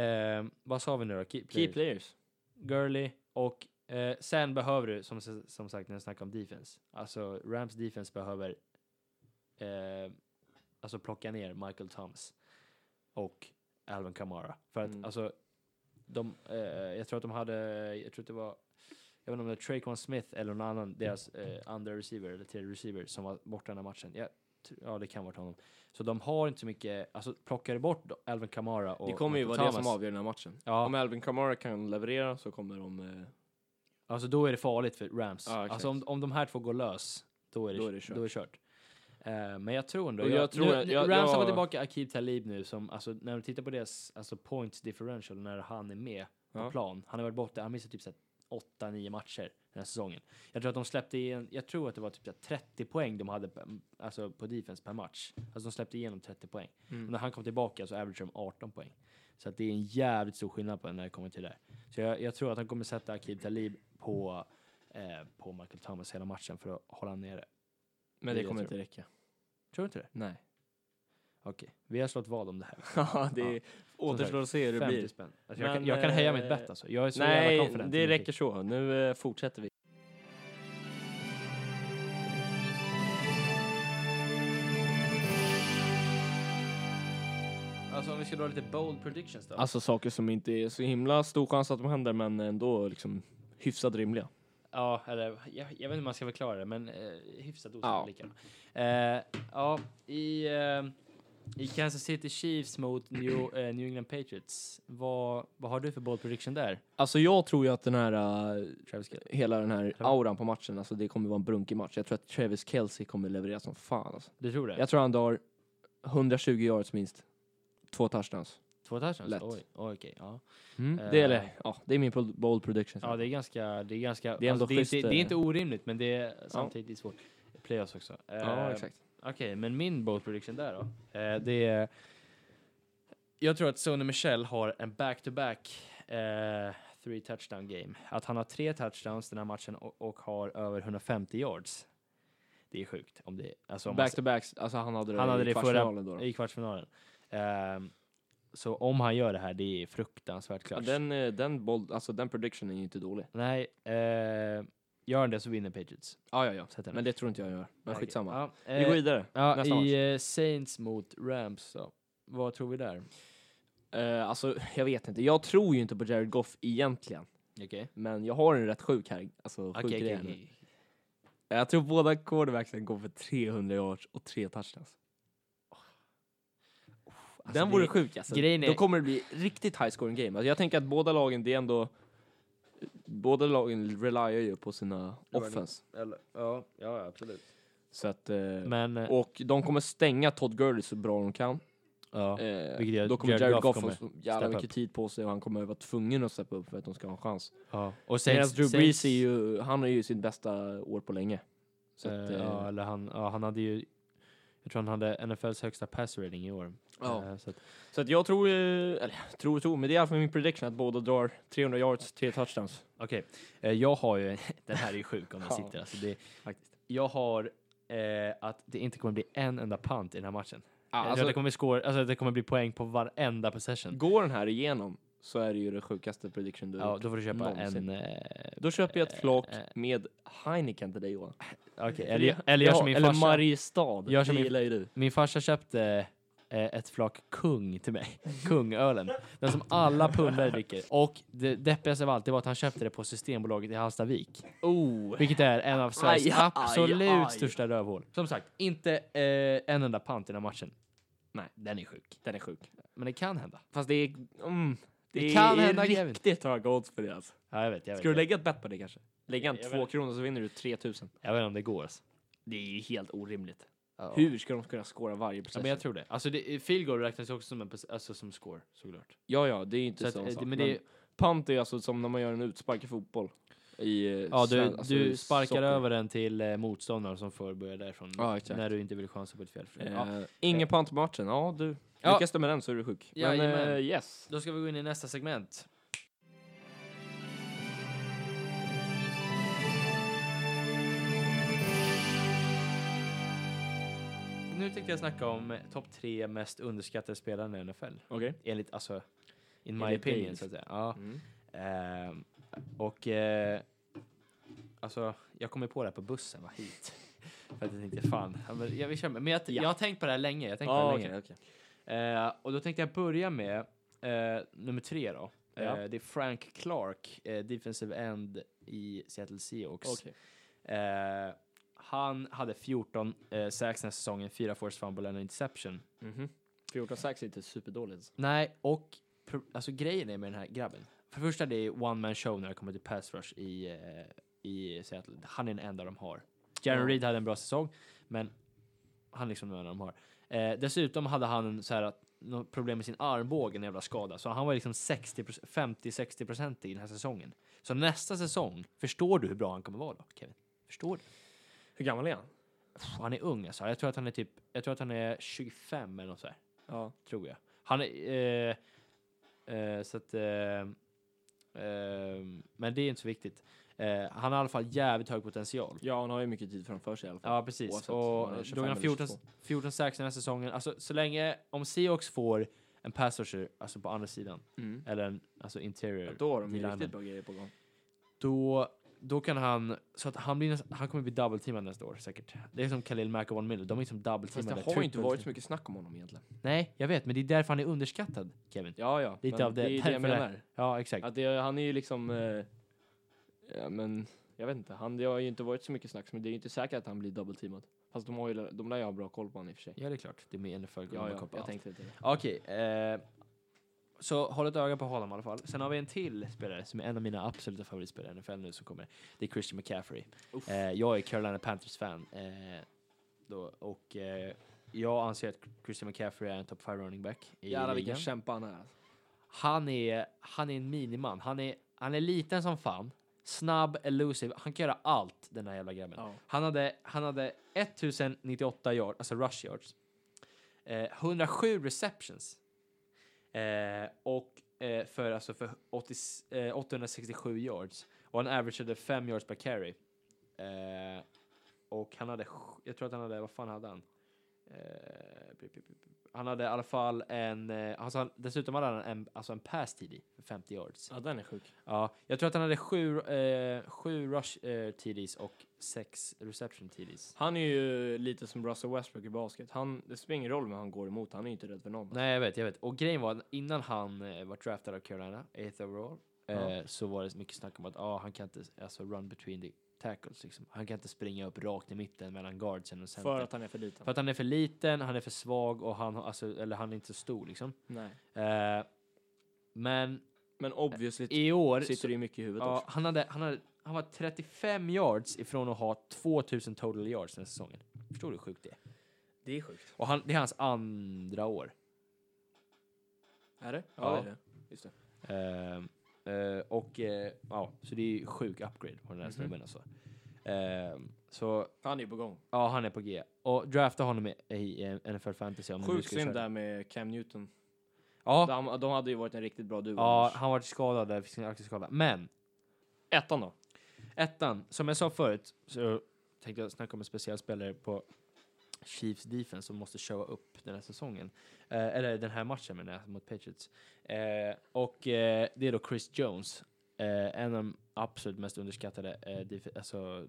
Eh, vad sa vi nu då? Key, Key players. players. Gurley och eh, sen behöver du, som, s- som sagt när jag snackar om defense, alltså Rams defense behöver eh, alltså plocka ner Michael Thomas och Alvin Kamara. För att Mm. alltså, de, eh, jag tror att de hade, jag tror att det var, jag vet inte om det var Traquan Smith eller någon annan, deras eh, andra receiver eller tredje receiver som var borta den här matchen. Jag, tr- Ja, det kan vara honom. Så de har inte så mycket, alltså plockar du bort Alvin Kamara och Det kommer ju Michael vara det Thomas- som avgör den här matchen. Ja. Om Alvin Kamara kan leverera så kommer de... Eh, Alltså då är det farligt för Rams. Ja, exakt. alltså om, om de här två går lös, då är det, då är det kört. Eh, men jag tror ändå... Och jag jag, tror- nu, jag- nu- Rams jag- har jag- fått tillbaka Akib Talib nu, som, alltså, när du tittar på deras alltså, points differential, när han är med Ja. på plan. Han har varit borta, han missar typ 8-9 matcher den här säsongen. Jag tror att de släppte igen, jag tror att det var typ så här 30 poäng de hade per, alltså, på defense per match. Alltså de släppte igenom 30 poäng. Mm. Och när han kom tillbaka så average de 18 poäng. Så att det är en jävligt stor skillnad på när det kommer till det. Så jag, jag tror att han kommer sätta Akib Talib på, eh, på Michael Thomas hela matchen för att hålla han nere. men det det jag kommer tror. inte räcka. Tror du inte det? Nej. Okej, vi har slått vad om det här. Ja, det Ja. återstår att se hur det 50 blir. spänn. Alltså jag, Men, kan, jag kan höja eh, mitt bett alltså. Jag är så jävla Nej, confident. i det min räcker så. Nu eh, fortsätter vi. pick. Alltså om vi ska dra lite bold predictions då. Alltså saker som inte är så himla stor chans att de händer, men ändå liksom hyfsat rimliga. Ja, eller jag, jag vet inte hur man ska förklara det, men eh, hyfsat Ja. osannolika. Eh, ja, i, eh, i Kansas City Chiefs mot New, eh, New England Patriots, vad, vad har du för bold prediction där? Alltså jag tror ju att den här, eh, Travis Kelce? hela den här Ja. auran på matchen, alltså det kommer vara en brunkig match. Jag tror att Travis Kelce kommer leverera som fan alltså. Du tror det? Jag tror han drar 120 yards minst. Två touchdowns. Två touchdowns? Lätt. Oj, oj, okej. ja. Eh. Mm. Det, är, eller, ja, det är min pro- bold prediction. ja, det är ganska... Det är, ganska, alltså, Det är ändå det, är inte, schysst, det är eh. inte orimligt, men det är samtidigt svårt. Playoffs också. Eh, ja, exakt. Okej, men min bold prediction där då. Eh, det är... Jag tror att Sonny Michel har en back-to-back eh, three touchdown game. Att han har tre touchdowns den här matchen och, och har över 150 yards. Det är sjukt. Om det, alltså om man Back to backs, alltså han hade det Han hade i det i förra- kvartsfinalen då. ser- då. I kvartsfinalen. Ehm, så om han gör det här, det är fruktansvärt Ja, klart. den, eh, den, bold, alltså, den predictionen är ju inte dålig. Nej, eh, gör han det så vinner Patriots. Ja, ja, ja. Sätter den. Men det tror inte jag gör. Okej. Men skitsamma. Ja, Vi går eh, vidare. ja, nästa match. I eh, Saints mot Rams då. Vad tror vi där? Eh, alltså, jag vet inte. Jag tror ju inte på Jared Goff egentligen. Okej. Men jag har en rätt sjuk här. Alltså, sjuk Okej, grej okej, här nu. okej. Jag tror båda quarterbacksen går för 300 yards och tre touchdowns. Alltså, den det- vore sjuk alltså. grejen är- Då kommer det bli riktigt high scoring game. Alltså, jag tänker att båda lagen, det är ändå... Båda lagen reliar ju på sina Running. offense. ja, ja, absolut. Så att, eh, Men, eh, och de kommer stänga Todd Gurley så bra de kan. ja, Eh, vilket gör att då kommer Jared Jared Goff Goff kommer få så jävla steppa mycket tid på sig och han kommer vara tvungen att steppa upp för att de ska ha en chans. ja. Och Medan Saints, Drew Brees Saints, är ju, han har ju sitt bästa år på länge. Så att, eh, eh, ja, eller han, ja, han hade ju, jag tror han hade NFLs högsta pass rating i år. ja. Eh, så att, Så att jag tror, eh, eller tror och tror, men det är i alla fall min prediction att båda drar 300 yards, tre touchdowns. Okej, eh, jag har ju, den här är ju sjuk om den Ja. sitter. Alltså det, jag har eh, att det inte kommer bli en enda punt i den här matchen. Ja, jag tror alltså, att det kommer, score, alltså att det kommer bli poäng på varenda possession. Går den här igenom så är det ju det sjukaste prediction du har Ja, gjort. då får du köpa Någonsin. en... Eh, Då köper jag ett flak Eh, eh. med Heineken till dig Johan. okej, eller, eller gör Ja, som min eller farsa. Mariestad, Gör det som min- gillar ju du. Min farsa köpte eh, ett flak kung till mig. Kungölen. Den som alla pundare dricker. Och det deppigaste av allt det var att han köpte det på Systembolaget i Hallstavik. Oh. Vilket är en av Sveriges Aj, aj, absolut aj. största rövhål. Som sagt, inte eh, en enda pant i den här matchen. Nej. Den är sjuk. Den är sjuk. Men det kan hända. Fast det är, mm, det Det kan kan är hända, Kevin. riktigt höga odds för det alltså. Ja, jag vet. Jag vet, Ska jag du vet. lägga ett bet på det kanske? Lägga en Jag vet två inte. kronor så vinner du 3000. Jag vet inte om det går. Alltså. Det är ju helt orimligt. Ja. Hur ska de kunna skåra varje Ja, possession? men jag tror det. Alltså, det, field goal räknas ju också som, en, pos- alltså, som score, såklart. Ja, ja, det är ju inte Så så att, sån eh, sak. men det, Punt är alltså som när man gör en utspark i fotboll. I, eh, Ja, du, sven- alltså i du sparkar soccer. över den till eh, motståndaren som förbörjar därifrån. Ja, exakt. När du inte vill chansa på ett fel. Eh, Ja. Ingen punt på matchen. Ja, du. Ja. Lyckas du med den så är du sjuk. Men Jajamän. eh, yes. Då ska vi gå in i nästa segment. nu tänkte jag snacka om eh, topp tre mest underskattade spelare i NFL. Okej. Enligt, alltså, in my Enligt dig, opinion, så liksom. att säga. Ja. Mm. Ehm, och eh, alltså, jag kommer på det här på bussen, va, hit. För att jag tänkte, fan, ja, men jag vill köra med. Men jag, Ja. jag har tänkt på det här länge. Jag har tänkt på det Ja, här okej. länge. okej. Eh, och då tänkte jag börja med eh, nummer tre då. Ja. Eh, det är Frank Clark, eh, defensive end i Seattle Seahawks. Okej. Eh, han hade 14 eh, sacks den här säsongen, 4 forced fumble och en interception. Mhm. 14 sax är inte superdåligt. Nej, och pro- alltså grejen är med den här grabben. För det första, det är one man show när det kommer till pass rush i, eh, i Seattle. Han är den enda de har. Jaron Ja. Reed hade en bra säsong, men han är liksom den enda de har. Eh, dessutom hade han en så här att något problem med sin armbåge, en jävla skada. Så han var liksom 60 50-60% i den här säsongen. Så nästa säsong, förstår du hur bra han kommer vara då, Kevin? Förstår du? Hur gammal är han? Pff, han är ung alltså. Jag tror att han är typ, jag tror att han är 25 eller något så här Ja. tror jag. Han är... Eh, eh, så att... Eh, eh, men det är inte så viktigt. Eh, han har i alla fall jävligt hög potential. ja, han har ju mycket tid framför sig i alla fall. Ja, precis. Oavsett om han och är 25 då har han eller 14, 22. 14 sacks den här säsongen. Alltså, så länge... Om Seahawks får en pass rusher, alltså på andra sidan, Mm. eller en alltså interior, Ja, då har de ju D-lineman, riktigt bra grejer på gång. då, då kan han... Så att han, blir, nästan- han kommer bli double-teamad nästa år, säkert. Det är som Khalil Mack och Von Miller. De är som Fast det double-teamade. har ju inte triple- varit så mycket snack om honom egentligen. Nej, jag vet, men det är därför han är underskattad, Kevin. Ja, ja. Lite men av det- är ju det jag därför det- menar. Ja, exakt. Att det, han är ju liksom... Eh, ja, men jag vet inte. Han, det har ju inte varit så mycket snack, men det är ju inte säkert att han blir double-teamad. Fast de, har ju, de lär ju ha bra koll på honom i och för sig. Ja, det är klart. Det är med NFL. Ja, Ja, ja, jag tänkte inte det. Okej. Eh, så håll ett öga på honom i alla fall. Sen har vi en till spelare som är en av mina absoluta favoritspelare i NFL nu som kommer. Det är Christian McCaffrey. Uff. Eh, jag är Carolina Panthers-fan. Eh, då, och eh, jag anser att Christian McCaffrey är en top 5 running back i Jävlar vilken ligan. kämpa han är. alltså. Han är, han är en miniman. Han är, han är liten som fan. Snabb, elusive. Han kan göra allt, den här jävla grabben. Ja. Han hade, han hade 1098 yards, alltså rush yards. Eh, 107 receptions. Eh, och eh, för, alltså för 80, eh, 867 yards. Och han averageade 5 yards per carry. Eh, och han hade, sj- jag tror att han hade, vad fan hade han? Eh, pip, pip, pip. han hade i alla fall en, eh, alltså han, dessutom hade han en, alltså en pass TD för 50 yards. ja, den är sjuk. Ja, jag tror att han hade sju, eh, sju rush eh, TDs och sex reception TDs. Han är ju lite som Russell Westbrook i basket. Han, det spelar ingen roll vem han går emot, han är ju inte rädd för någon. Nej, jag vet, jag vet. Och grejen var, att innan han eh, var draftad av Carolina, 8th overall, eh, Ja. så var det mycket snack om att ah, han kan inte alltså, run between the tackles. Liksom. Han kan inte springa upp rakt i mitten mellan guardsen och centern. För att han är för liten. För att han är för liten, han är för svag och han, har- alltså, eller han är inte så stor liksom. Nej. Eh, men Men obviously i år så- sitter det ju mycket i huvudet Ja, också. han, hade, han, hade, han var 35 yards ifrån att ha 2000 total yards den här säsongen. Förstår du hur sjukt det är? Det är sjukt. Och han, det är hans andra år. Är det? Ja. Ja, det är det. Just det. Ehm, eh, och eh, ja, så det är ju sjuk upgrade på den här Mhm. snubben alltså. Ehm, så Han är ju på gång. ja, han är på G. Och drafta honom i, i eh, NFL fantasy om du Sjukt ska synd köra. där med Cam Newton. Ja, De, de hade ju varit en riktigt bra duo. ja, annars. han var skadad där, fick sin axelskada. Men Ettan då? Ettan, som jag sa förut, så tänkte jag snacka om en speciell spelare på Chiefs defense som måste showa upp den här säsongen. Eh, eller den här matchen menar jag, mot Patriots. Eh, och eh, det är då Chris Jones, eh, en av de absolut mest underskattade eh, def- alltså,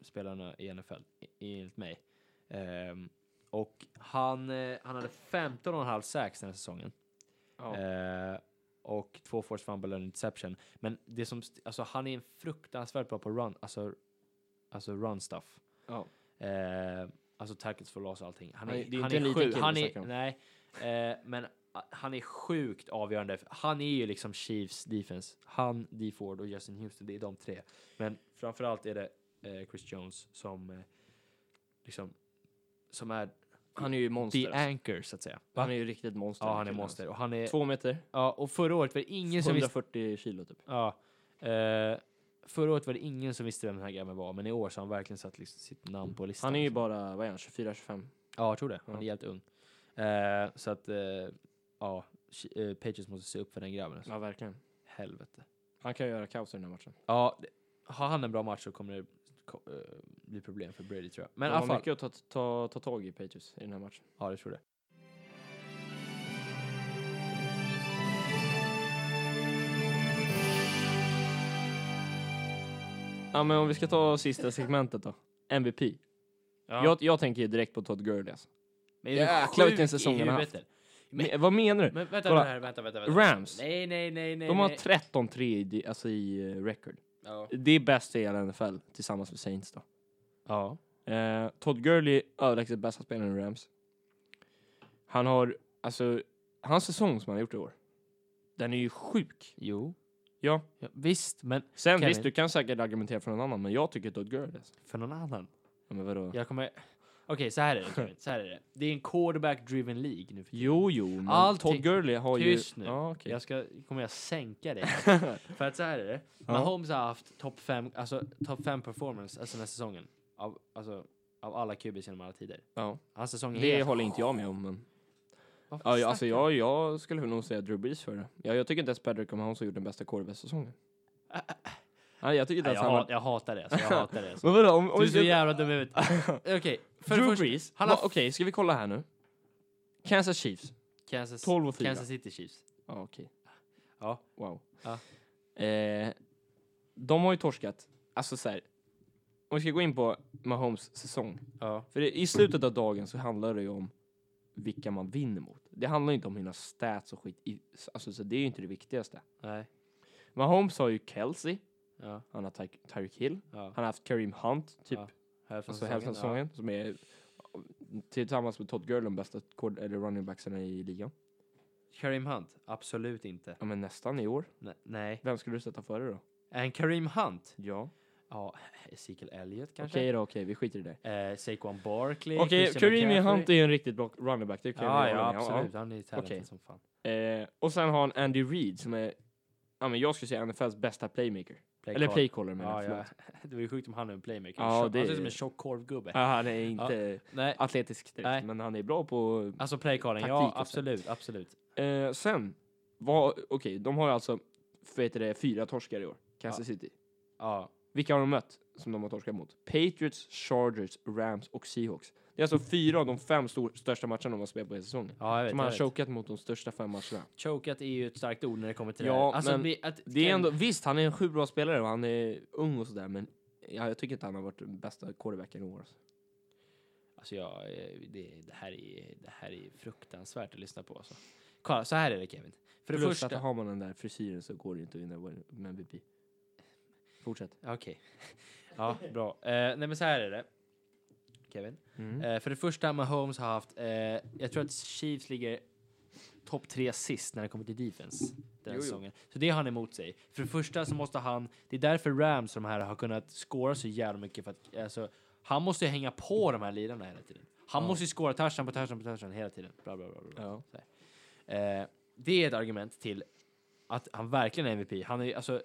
spelarna i NFL, i- enligt mig. Ehm, och han, eh, han hade 15,5 sacks den här säsongen. Ja. Eh, och två force fumble och en interception. Men det som, st- alltså han är en fruktansvärt bra på run, alltså, alltså run stuff. ja. Eh, alltså tackles for loss och allting. Han är, Han är- det är han inte en är liten sjuk. kille Han vi är, snackar om. nej, eh, men a- han är sjukt avgörande. Han är ju liksom Chiefs defense. Han, Dee Ford och Justin Houston, det är de tre. Men framförallt är det eh, Chris Jones som eh, liksom, som är Han är ju monster. the Alltså. anchor så att säga. Va? Han är ju riktigt monster. Ja, den han är killen, monster. Och han är, alltså. Två meter, ja, och förra året var det ingen som visste 140 kilo typ. Ja. Eh, förra året var det ingen som visste vem den här grabben var, men i år så har han verkligen satt liksom sitt namn på listan. liksom. Han är ju bara, vad är han, 24-25? Ja, jag tror det. Han är Ja. helt ung. Eh, så att, eh, ja, Ch- eh, Patriots måste se upp för den grabben. Alltså. Ja, verkligen. Helvete. Han kan ju göra kaos i den här matchen. Ja, det- har han en bra match så kommer det, ko- eh, bli problem för Brady tror jag. Men Men i de alla har fall. mycket att ta, ta, ta tag i Patriots i den här matchen. Ja, det tror jag. Ja, men om vi ska ta sista segmentet då. MVP. Ja. Jag, jag tänker ju direkt på Todd Gurley. Alltså. Men är du Jäklar, vilken sjuk i säsong han har huvudet, eller? Men- Men, vad menar du? Men vänta, Kolla. vänta, här, vänta, vänta, vänta. Rams. Nej, nej, nej, nej. De har nej. 13-3 i, di- alltså, i eh, record. Ja. Det är bäst i hela NFL tillsammans med Saints då. ja. Eh, Todd Gurley är överlägset bästa spelaren i Rams. Han har, alltså, hans säsong som han har gjort i år. Den är ju sjuk. Jo. Ja. ja. Visst, men Sen Kan visst, vi- du kan säkert argumentera för någon annan, men jag tycker Todd Gurley. Alltså. för någon annan. Ja, men vadå? Jag kommer... Okej, så här är det. Kevin, Så här är det. Det är en quarterback-driven league nu för tiden. Jo, jo, men Allting- Todd Gurley har ju... Tyst nu. Ja, okej. Jag ska, kommer jag sänka dig. för att så här är det. Ja. Mahomes har haft topp fem, alltså topp fem performance alltså den här säsongen. Av, alltså, av alla QBs genom alla tider. Ja. Hans säsong är Det helt- håller inte jag med om, men... Vad fan Ja, jag, alltså, snackar jag, jag skulle nog säga Drew Brees för det. Jag, jag tycker inte ens Patrick Mahomes har gjort den bästa quarterback-säsongen. Nej, jag tycker du? Nej, inte ens jag, han hat, har... jag hatar det. Alltså, jag hatar det. Alltså. Men vadå, om, Du om är vi så ska... jävla dum i huvudet. Okej, för det Drew första. Brees? han Va- har- Okej, ska vi kolla här nu? Kansas Chiefs. Kansas, 12 och 4. Kansas City Chiefs. Ja, okej. Ja. Wow. Ja. Eh, de har ju torskat. Alltså så här. Om vi ska gå in på Mahomes säsong. Ja. För det, i slutet av dagen så handlar det ju om vilka man vinner mot. Det handlar ju inte om mina stats och skit. I, alltså så det är ju inte det viktigaste. Nej. Mahomes har ju Kelsey. Ja. Han har Ty- Tyreek Hill. Ja. Han har haft Kareem Hunt. Typ. Ja, Hälften alltså hälften av säsongen. Som är tillsammans med Todd Gurley de bästa kord, eller running backsarna i ligan. Kareem Hunt? Absolut inte. Ja men nästan i år. Ne- nej. Vem skulle du sätta före då? En Kareem Hunt? Ja. Ja, Ezekiel Elliott Okej kanske? då, okej vi skiter i det. Eh, Saquon Barkley? Okej, Christian Kareem McCaffrey. Hunt är ju en riktigt bra running back. Det kan Ja, jag ja, hålla med om, absolut. Han är talented Okej. som fan. Eh, och sen har han Andy Reid som är, ja men jag skulle säga NFLs bästa playmaker. Play Eller call. playcaller menar Ja, jag, ja. förlåt. Det var ju sjukt om han är en playmaker. Ja, Han det ser ut är- som en tjock korvgubbe. Ah, han är inte Nej, atletisk direkt, Nej. men han är bra på... alltså playcalling. Ja, Taktik och så. absolut, absolut. Eh, sen, vad, okej, de har alltså, vad heter det, fyra torskar i år. Kansas City. Ja, Vilka har de mött som de har torskat mot? Patriots, Chargers, Rams och Seahawks. Det är alltså fyra av de fem stor, största matcherna de har spelat på hela säsongen. ja jag vet. Som har Jag vet. chokat mot de största fem matcherna. Chokat är ju ett starkt ord när det kommer till Ja, det här. Alltså, men bli- att, Det är ändå, visst, han är en sjukt bra spelare och han är ung och sådär, men ja, jag tycker inte han har varit den bästa quarterbacken i år. alltså. Alltså jag, eh, det, det, här är, det här är fruktansvärt att lyssna på. Alltså. Kolla, så här är det Kevin. För det Plus första... att har man den där frisyren så går det inte att vinna med MVP. Fortsätt. Okej. Ja, bra. Eh, nej men så här är det. Kevin. Mm. Eh, för det första, Mahomes har haft... Eh, jag tror att Chiefs ligger topp tre sist när det kommer till defense den Jo, jo. säsongen. Så det har han emot sig. För det första så måste han... Det är därför Rams, de här, har kunnat skåra så jävla mycket. För att, alltså, han måste ju hänga på de här lirarna hela tiden. Han Ja. måste ju skåra touchdown på touchdown på touchdown hela tiden. Bra, bra, bra, bra. bra. Ja. Eh, det är ett argument till att han verkligen är MVP. Han är ju, alltså,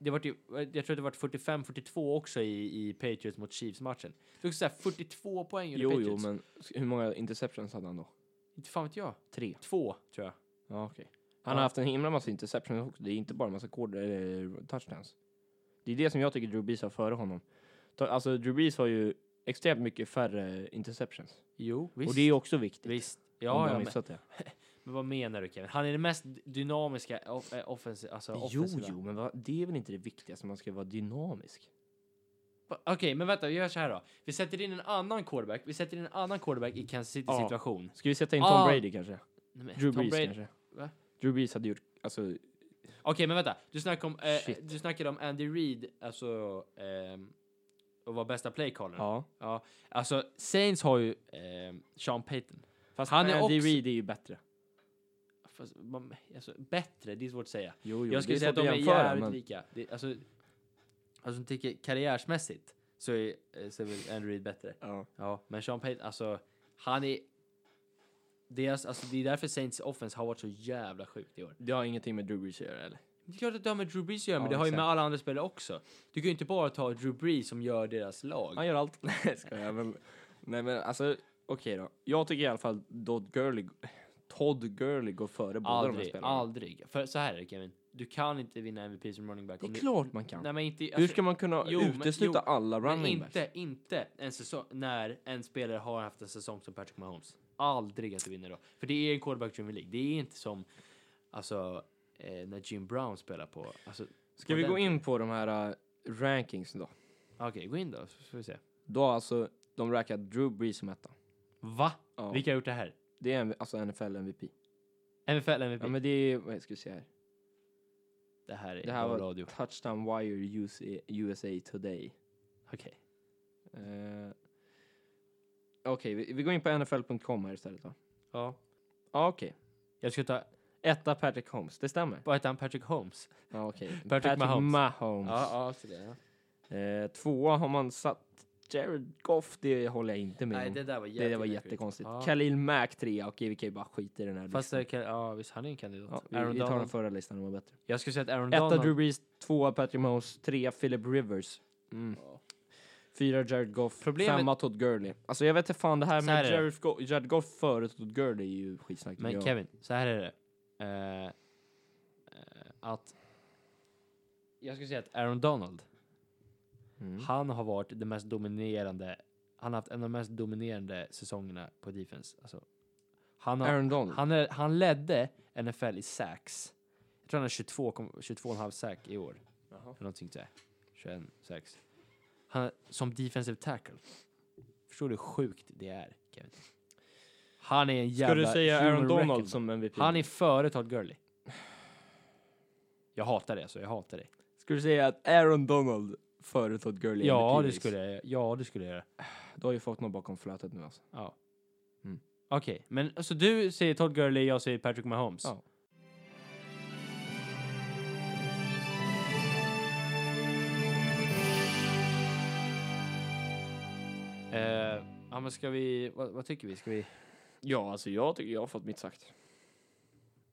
det var ju, jag tror det var 45-42 också i, i Patriots mot Chiefs-matchen. Det var också så här 42 poäng under Jo, jo, Patriots. men s- hur många interceptions hade han då? Inte fan vet jag. Tre. Två, tror jag. Ja, okej. Han Ja. har haft en himla massa interceptions också. Det är inte bara en massa quarter, eh, touchdowns. Det är det som jag tycker Drew Brees har före honom. Ta- Alltså, Drew Brees har ju extremt mycket färre interceptions. Jo, visst. Och det är ju också viktigt. Visst. om Ja, du ja har men, missat det. men vad menar du Kevin? Han är den mest dynamiska off eh, offensiva. Alltså, Jo, offensiva. jo, men vad- det är väl inte det viktigaste, man ska vara dynamisk. Va- Okej, men vänta, vi gör så här då. Vi sätter in en annan quarterback. Vi sätter in en annan quarterback i Kansas City Ja. situation. Ska vi sätta in Tom Ah. Brady kanske? Nej, men Tom Drew Brees Brady- kanske? Va? Drew Brees hade gjort, alltså, Okej, men vänta. Du, snackade om, eh, Shit. du snackade om Andy Reid, alltså... ehm, och var bästa playcaller. ja. Alltså, Saints har ju ehm, Sean Payton. Fast Han han är Andy också- Reid är ju bättre. Fast, man, alltså, bättre, det är svårt att säga. Jo, jo, jag skulle det säga att de svårt är jämföra, jävligt men- lika. Det, alltså, alltså, jag tycker karriärsmässigt så är, eh, så är väl Andy Reid bättre. Ja. Ja, men Sean Payton, alltså, han är... Deras, alltså, det är därför Saints offense har varit så jävla sjukt i år. Det har ingenting med Drew Brees att göra eller? Det är klart att det har med Drew Brees att göra, men Ja, det har ju med exakt. alla andra spelare också. Du kan ju inte bara ta Drew Brees som gör deras lag. Han gör allt. Alltså, Nej, ska jag men... Nej, men alltså, okej då. Jag tycker i alla fall Todd Gurley, Todd Gurley går före båda de här Aldrig, spelarna. aldrig. För så här är det Kevin. du kan inte vinna MVP som running back. Det om är ni- klart man kan. Nej, men inte, Hur alltså- ska man kunna jo, men- utesluta alla Men running backs? inte, inte en säsong när en spelare har haft en säsong som Patrick Mahomes. Aldrig att du vinner då. För det är en quarterback driven League. Det är inte som alltså, eh, när Jim Brown spelar på. Alltså, Ska vi gå in på de här uh, rankings då? Okej, gå in då så får vi se. Då har alltså de rankat Drew Brees som etta. Va? Ja. Vilka har gjort det här? Det är en, alltså NFL MVP. NFL MVP? Ja men det är, vad ska vi se här. det här är Det här bra var radio. Touchdown Wire USA, USA Today. Okej. Eh, Okej, vi, vi går in på NFL.com här istället då. Ja. Ja, Okej, Jag ska ta, etta Patrick Holmes, det stämmer. vad heter han? Patrick Holmes? Ja, okej. Patrick Mahomes. Mahomes. ja, så det, ja. Eh, tvåa har man satt Jared Goff, det håller jag inte med Nej, om. det Det, där var det, jättekonstigt. var jättekonstigt. Ja. Khalil Mack trea, okej vi kan ju bara skita i den här Fast, listan. eh, Cal- ja visst, han är en kandidat. Ja, vi, Aaron vi tar den Donald. förra listan, den var bättre. Jag skulle säga att Aaron Etta Donald. Drew Brees, tvåa Patrick Mahomes, trea Philip Rivers. Mm. Ja. Fyra Jared Goff, Problemet- femma Todd Gurley. Alltså jag vet inte fan det här Så med här är det. Jared Goff, Jared Goff före Todd Gurley är ju skitsnack. Men tycker jag. Kevin, så här är det. Eh, eh, att jag skulle säga att Aaron Donald, Mm. han har varit det mest dominerande. Han har haft en av de mest dominerande säsongerna på defense. Alltså, han, har, Aaron Donald. han, är, han ledde NFL i sacks. Jag tror han har 22, kom- 22,5 sack i år. Jaha. Eller någonting sådär. 21 sax. Han, som defensive tackle. Förstår du hur sjukt det är, Kevin? Han är en Ska jävla... du säga Aaron human Donald wrecking. som MVP? Han är före Todd Gurley. Jag hatar det alltså, jag hatar det. Ska du säga att Aaron Donald före Todd Gurley är Ja, MVP det race? skulle jag Ja, det skulle jag göra. Du har ju fått någon bakom flötet nu alltså. Ja. Mm. Okej, men alltså du säger Todd Gurley, jag säger Patrick Mahomes. Ja. Eh, ja, men ska vi... Vad, vad tycker vi? Ska vi... Ja, alltså jag tycker jag har fått mitt sagt.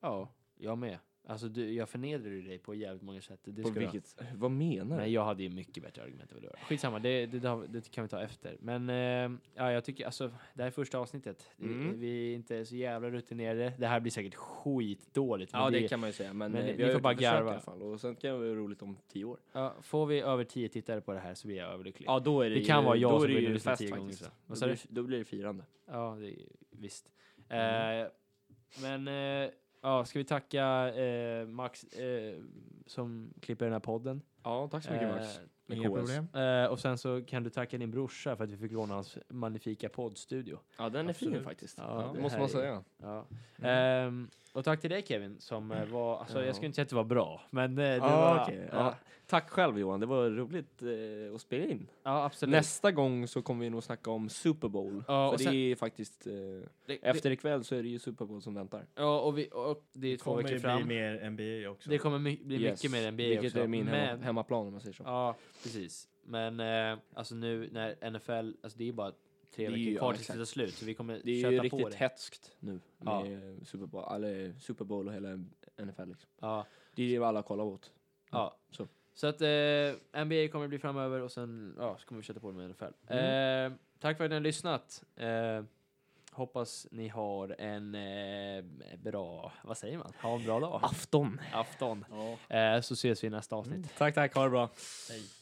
Ja, jag med. Alltså, du, jag förnedrar ju dig på jävligt många sätt. Det På ska du ha. vilket, vad menar du? Nej, jag hade ju mycket bättre argument än vad du har. Skitsamma, det, det, det, det kan vi ta efter. Men eh, ja, jag tycker alltså, det här är första avsnittet. Det- Mm. Vi är inte så jävla rutinerade. Det här blir säkert skitdåligt. men Ja, det kan man ju säga. Men, men eh, ni- vi ni har får gjort bara ett försök i garva. alla fall. Och sen kan det vara roligt om tio år. ja, får vi över tio tittare på det här så blir jag överlycklig. Ja, då är det, Det kan ju, vara jag då som är det började ju lyssna fest tio gånger faktiskt. sen. Då Vad sa blir, då blir det firande. Ja, det, visst. Mm. Eh, men eh, ja, ska vi tacka eh, Max eh, som klipper den här podden. Ja, tack Eh, Eh, och sen så kan du tacka din brorsa för att vi fick låna hans magnifika poddstudio. Ja, den är fin Absolut. faktiskt. Ja, Ja, det måste här man är- säga. Ja. Mm. Ehm, och tack till dig Kevin som eh, var, alltså, Ja. jag skulle inte säga att det var bra, men eh, det Ja, var, okej. ja, Ja. Tack själv Johan, det var roligt eh, att spela in. ja, absolut. Nästa gång så kommer vi nog snacka om Super Bowl. Ja, för och sen- det är faktiskt, eh, efter ikväll så är det ju Super Bowl som väntar. ja, och, vi, och det är två kommer veckor ju fram. bli mer NBA också. Det kommer my- bli Yes, mycket mer NBA Vilket också. är min men, hemma, hemmaplan om man säger så. Ja, precis. Men eh, alltså nu när NFL, alltså det är bara tre Det är ju- veckor ja, kvar tills exakt. det tar slut, så vi kommer Det är ju köta riktigt på det. hätskt nu Ja. med eh, Super Bowl, eller Super Bowl och hela NFL. Liksom. Ja, Det är det alla kollar åt. ja. så. Så. att eh, NBA kommer det bli framöver och sen ja, så kommer vi köta på det med NFL. Mm. Eh, tack för att ni har lyssnat. Eh, hoppas ni har en eh, bra, vad säger man? Ha en bra dag. Afton! Afton. Eh, så ses vi i nästa avsnitt. Tack, tack. Ha det bra.